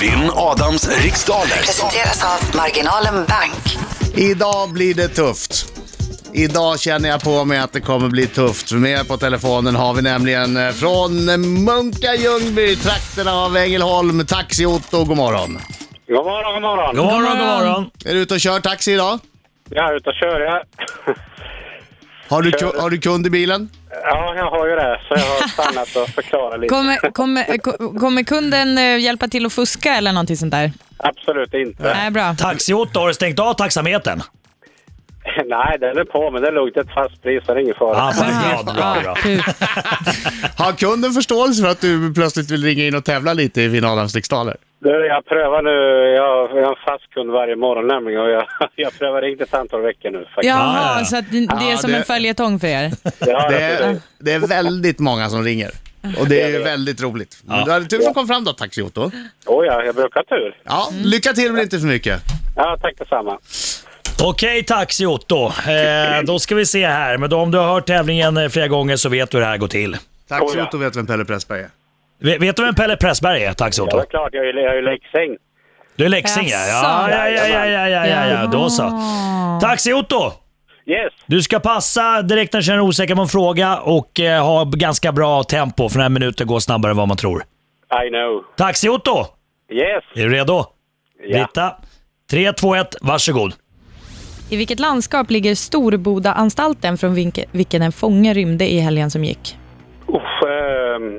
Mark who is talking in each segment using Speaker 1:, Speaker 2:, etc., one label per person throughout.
Speaker 1: Vinn Adams riksdaler.
Speaker 2: Presenteras av Marginalen Bank.
Speaker 3: Idag blir det tufft. Idag känner jag på mig att det kommer bli tufft. Med på telefonen har vi nämligen eh, från Munka Ljungby, trakterna av Ängelholm, Taxi-Otto. God morgon.
Speaker 4: God morgon, god morgon.
Speaker 5: God morgon, god morgon.
Speaker 3: Är du ute och kör taxi idag?
Speaker 4: Jag är ute och kör. Jag...
Speaker 3: Har du, ku- har du kund i bilen?
Speaker 4: Ja, jag har ju det, så jag har stannat och förklarat lite.
Speaker 6: Kommer, kommer, eh, ko- kommer kunden eh, hjälpa till att fuska eller någonting sånt där?
Speaker 4: Äh. Absolut inte.
Speaker 6: Nej, bra.
Speaker 5: Taxi-Otto, har du stängt av taxametern?
Speaker 4: Nej, den är på, men det är lugnt. Det är ett fast pris, så det är ingen fara.
Speaker 5: Ja, bra, bra, bra.
Speaker 6: kul.
Speaker 3: Har kunden förståelse för att du plötsligt vill ringa in och tävla lite i finalens riksdaler?
Speaker 4: Du, jag prövar nu. Jag jag är en fast kund varje morgon nämligen och jag, jag prövar inte ett antal veckor nu faktiskt.
Speaker 5: Ja,
Speaker 6: Jaha,
Speaker 5: ja.
Speaker 6: så att det det är
Speaker 3: Ja,
Speaker 6: som
Speaker 3: det-
Speaker 6: en följetong för er.
Speaker 4: Ja,
Speaker 3: Det
Speaker 4: jag tror
Speaker 3: är, det är väldigt många som ringer. Och det är ju väldigt roligt. Men du hade tur som kom fram då, Taxi-Otto.
Speaker 4: Oh, ja, jag brukar ha tur.
Speaker 3: Ja, lycka till men inte för mycket.
Speaker 4: Ja, tack detsamma.
Speaker 5: Okej, Taxi-Otto. Eh, då ska vi se här. Men då, om du har hört tävlingen eh, flera gånger så vet du hur det här går till.
Speaker 3: Taxi-Otto vet vem Pelle Pressberg är.
Speaker 5: Vet, vet du vem Pelle Pressberg är,
Speaker 4: Ja,
Speaker 5: Taxi-Otto?
Speaker 4: det är klart. Jag är ju- jag är ju leksing.
Speaker 5: Du är leksinge? Ja,
Speaker 6: Jaså?
Speaker 5: ja, ja, ja, ja, ja, ja, ja. Då så. Taxi-Otto!
Speaker 4: Yes!
Speaker 5: Du ska passa direkt när du känner dig osäker på en fråga och eh, ha ganska bra tempo, för den här minuten går snabbare än vad man tror.
Speaker 4: I know.
Speaker 5: Taxi-Otto!
Speaker 4: Yes!
Speaker 5: Är du redo?
Speaker 4: Ja.
Speaker 5: Britta, 3, 2, 1, varsågod.
Speaker 6: I vilket landskap ligger Storbodaanstalten från vinke- vilken en fånge rymde i helgen som gick?
Speaker 4: Uff, ehm,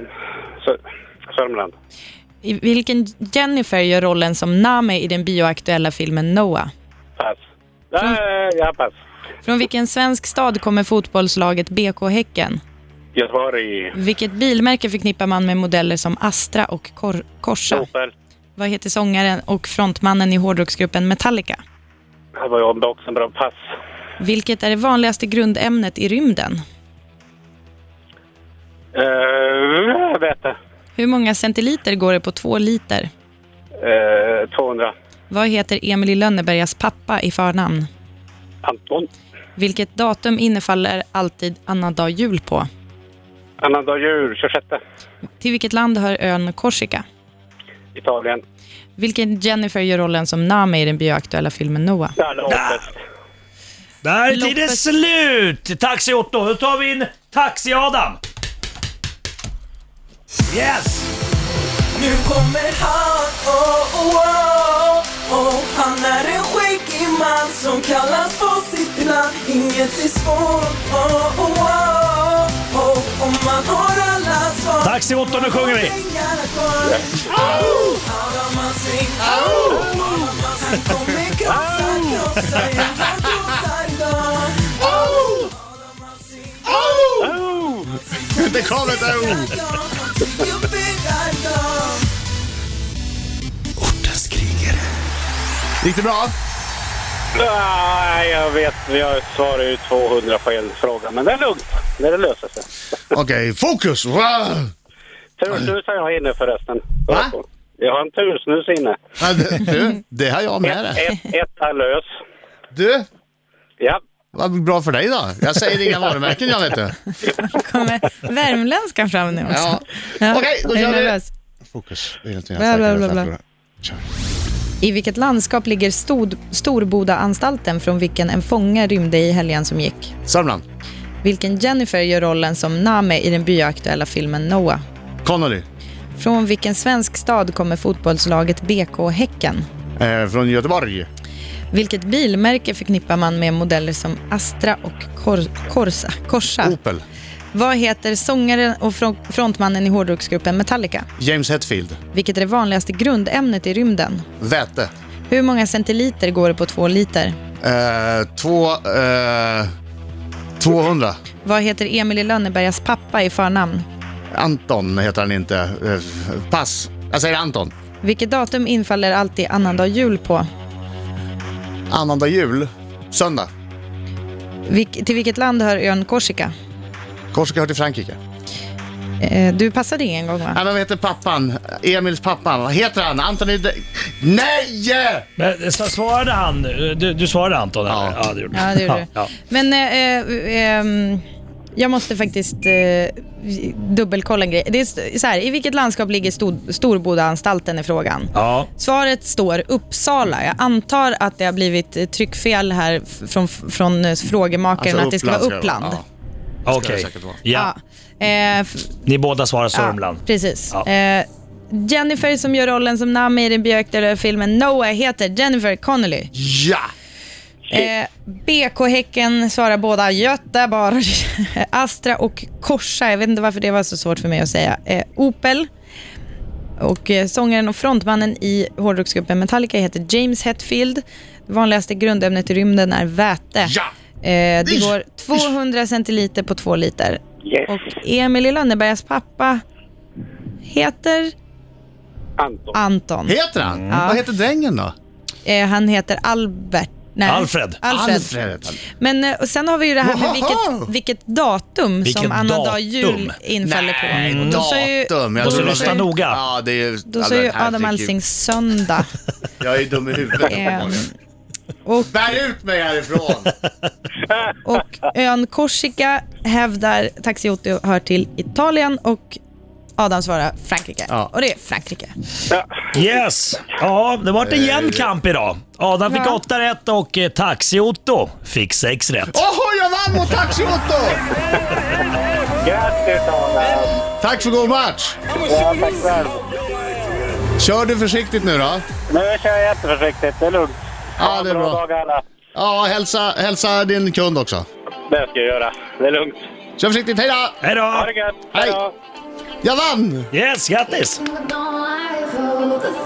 Speaker 4: Sö- Sörmland.
Speaker 6: I vilken Jennifer gör rollen som Name i den bioaktuella filmen Noah?
Speaker 4: Pass. Nej, ja, pass.
Speaker 6: Från vilken svensk stad kommer fotbollslaget BK Häcken?
Speaker 4: Göteborg.
Speaker 6: Vilket bilmärke förknippar man med modeller som Astra och Cor- Corsa?
Speaker 4: Opel.
Speaker 6: Vad heter sångaren och frontmannen i hårdrocksgruppen Metallica?
Speaker 4: Det var ju också en bra pass.
Speaker 6: Vilket är det vanligaste grundämnet i rymden?
Speaker 4: Uh, vete.
Speaker 6: Hur många centiliter går det på två liter?
Speaker 4: Eh, 200.
Speaker 6: Vad heter Emil i Lönnebergas pappa i förnamn?
Speaker 4: Anton.
Speaker 6: Vilket datum innefaller alltid annandag jul på?
Speaker 4: Annandag jul, 26.
Speaker 6: Till vilket land hör ön Korsika?
Speaker 4: Italien.
Speaker 6: Vilken Jennifer gör rollen som Nami i den bioaktuella filmen Noah?
Speaker 4: Ja, loppet.
Speaker 5: Där är tiden
Speaker 6: Loppet.
Speaker 5: slut! Taxi Otto, då tar vi in Taxi-Adam. Yes!
Speaker 7: Nu kommer han, oh, oh, oh, oh. Han är en skäggig man som kallas på sitt namn Inget är svårt, oh, oh, oh, oh. Om man har alla svar
Speaker 5: Taxi Otto, nu sjunger vi.
Speaker 7: Pengarna kvar. Au! Adam Alsing, au! Adam Alsing kommer krossa, krossa, jävla krossar idag Adam Alsing,
Speaker 3: Det kom ett oh!
Speaker 7: jag han tycker bygga idag
Speaker 1: Ortens krigare.
Speaker 3: Gick det bra?
Speaker 4: Nej, jag vet. Jag svarar ju 200 på en fråga, men det är lugnt. Det är löser sig.
Speaker 3: Okej, fokus! Wow.
Speaker 4: Tursnus har jag inne förresten.
Speaker 3: Va?
Speaker 4: Jag har en tursnus inne.
Speaker 3: Ja, det- Du, det har jag med det.
Speaker 4: Ett, ett är lös.
Speaker 3: Du,
Speaker 4: Ja.
Speaker 3: vad bra för dig då. Jag säger inga varumärken jag vet du.
Speaker 6: Kommer värmländskan fram nu också?
Speaker 3: Ja. Okej, då
Speaker 6: är du
Speaker 3: kör vi.
Speaker 6: nervös?
Speaker 3: Fokus. Det är inte jag
Speaker 6: Bla, bla,
Speaker 3: säker på.
Speaker 6: bla, bla. I vilket landskap ligger Stod- Storbodaanstalten från vilken en fånge rymde i helgen som gick?
Speaker 3: Sörmland.
Speaker 6: Vilken Jennifer gör rollen som Name i den bioaktuella filmen Noah?
Speaker 3: Connolly.
Speaker 6: Från vilken svensk stad kommer fotbollslaget BK Häcken?
Speaker 3: Eh, från Göteborg.
Speaker 6: Vilket bilmärke förknippar man med modeller som Astra och Cor- Corsa? Corsa?
Speaker 3: Opel.
Speaker 6: Vad heter sångaren och fron- frontmannen i hårdrocksgruppen Metallica?
Speaker 3: James Hetfield.
Speaker 6: Vilket är det vanligaste grundämnet i rymden?
Speaker 3: Väte.
Speaker 6: Hur många centiliter går det på två liter?
Speaker 3: Eh, två... Eh, 200.
Speaker 6: Vad heter Emil i Lönnebergas pappa i förnamn?
Speaker 3: Anton heter han inte. Eh, pass. Jag säger Anton.
Speaker 6: Vilket datum infaller alltid annandag jul på?
Speaker 3: Annandag jul. Söndag.
Speaker 6: Vilk- till vilket land hör ön Korsika?
Speaker 3: Korsika hör till Frankrike.
Speaker 6: Eh, du passade ingen gång va?
Speaker 3: Nej, men vad heter pappan? Emils pappan. Vad heter han? Anthony... De... Nej!
Speaker 5: Men, så svarade han? Du, du svarade Anton? eller?
Speaker 3: Ja.
Speaker 5: det gjorde
Speaker 6: Ja, det gjorde du. Men eh, eh, ehm, Jag måste faktiskt eh, dubbelkolla en grej. Det är st- så här, I vilket landskap ligger Stor- Storbodaanstalten är frågan.
Speaker 5: Ja.
Speaker 6: Svaret står Uppsala. Jag antar att det har blivit eh, tryckfel här f- från, från eh, frågemakaren
Speaker 3: Alltså,
Speaker 6: att det ska vara
Speaker 3: Uppland ska det
Speaker 6: Uppland.
Speaker 3: vara,
Speaker 5: Okej.
Speaker 3: säkert vara.
Speaker 5: Ja.
Speaker 6: Ja. Eh, f-
Speaker 5: Ni båda svarar Sörmland.
Speaker 6: Ja, precis.
Speaker 5: Ja.
Speaker 6: Eh, Jennifer som gör rollen som Nami i den björkdöda filmen Noah heter Jennifer Connolly.
Speaker 3: Ja!
Speaker 6: Eh, BK Häcken svarar båda Göteborg, Astra och Korsa. Jag vet inte varför det var så svårt för mig att säga. Eh, Opel. Och eh, sångaren och frontmannen i hårdrocksgruppen Metallica heter James Hetfield. Det vanligaste grundämnet i rymden är väte.
Speaker 3: Ja!
Speaker 6: Eh, det
Speaker 3: Ish!
Speaker 6: går 200 centiliter på två liter.
Speaker 4: Yes,
Speaker 6: Och Emil i Lönnebergas pappa heter
Speaker 4: Anton.
Speaker 6: Anton.
Speaker 3: Heter han? Vad heter drängen då?
Speaker 6: Eh, han heter Albert. Nej.
Speaker 5: Alfred.
Speaker 6: Alfred.
Speaker 3: Alfred heter han.
Speaker 6: Men eh, och sen har vi ju det här med
Speaker 3: Jaha!
Speaker 6: vilket, vilket datum
Speaker 5: Vilket
Speaker 6: som annandag
Speaker 5: datum?
Speaker 6: jul infaller på. Och då sa ju-
Speaker 3: Datum. Jag
Speaker 5: då
Speaker 3: tror
Speaker 5: sa
Speaker 3: det
Speaker 5: du
Speaker 3: var-
Speaker 5: rösta noga.
Speaker 3: Ja, det är ju...
Speaker 6: Då sa ju Adam
Speaker 3: herregud.
Speaker 6: Alsing söndag.
Speaker 3: Jag är ju dum i huvudet.
Speaker 6: Ehm, och,
Speaker 3: Bär ut mig härifrån!
Speaker 6: och ön Korsika hävdar Taxi Otto hör till Italien och Adam svarar Frankrike.
Speaker 3: Ja.
Speaker 6: Och det är Frankrike.
Speaker 5: Yes! Ja, det vart en jämn kamp idag. Adam fick
Speaker 6: Ja.
Speaker 5: 8 rätt och eh, Taxi-Otto fick 6 rätt.
Speaker 3: Åh, jag vann mot Taxi Otto!
Speaker 4: Grattis Adam!
Speaker 3: Tack för god match!
Speaker 4: Ja, tack själv.
Speaker 3: Kör du försiktigt nu då.
Speaker 4: Nu kör jag jätteförsiktigt, det är lugnt.
Speaker 3: Ja, det är
Speaker 4: bra
Speaker 3: bra.
Speaker 4: dag alla.
Speaker 3: Ja, hälsa, hälsa din kund också.
Speaker 4: Det ska jag göra. Det är lugnt.
Speaker 3: Kör försiktigt, hej då!
Speaker 5: Hej
Speaker 4: Ha
Speaker 5: då!
Speaker 4: det gött!
Speaker 3: Hej.
Speaker 4: Hej då!
Speaker 3: Jag vann!
Speaker 5: Yes, grattis!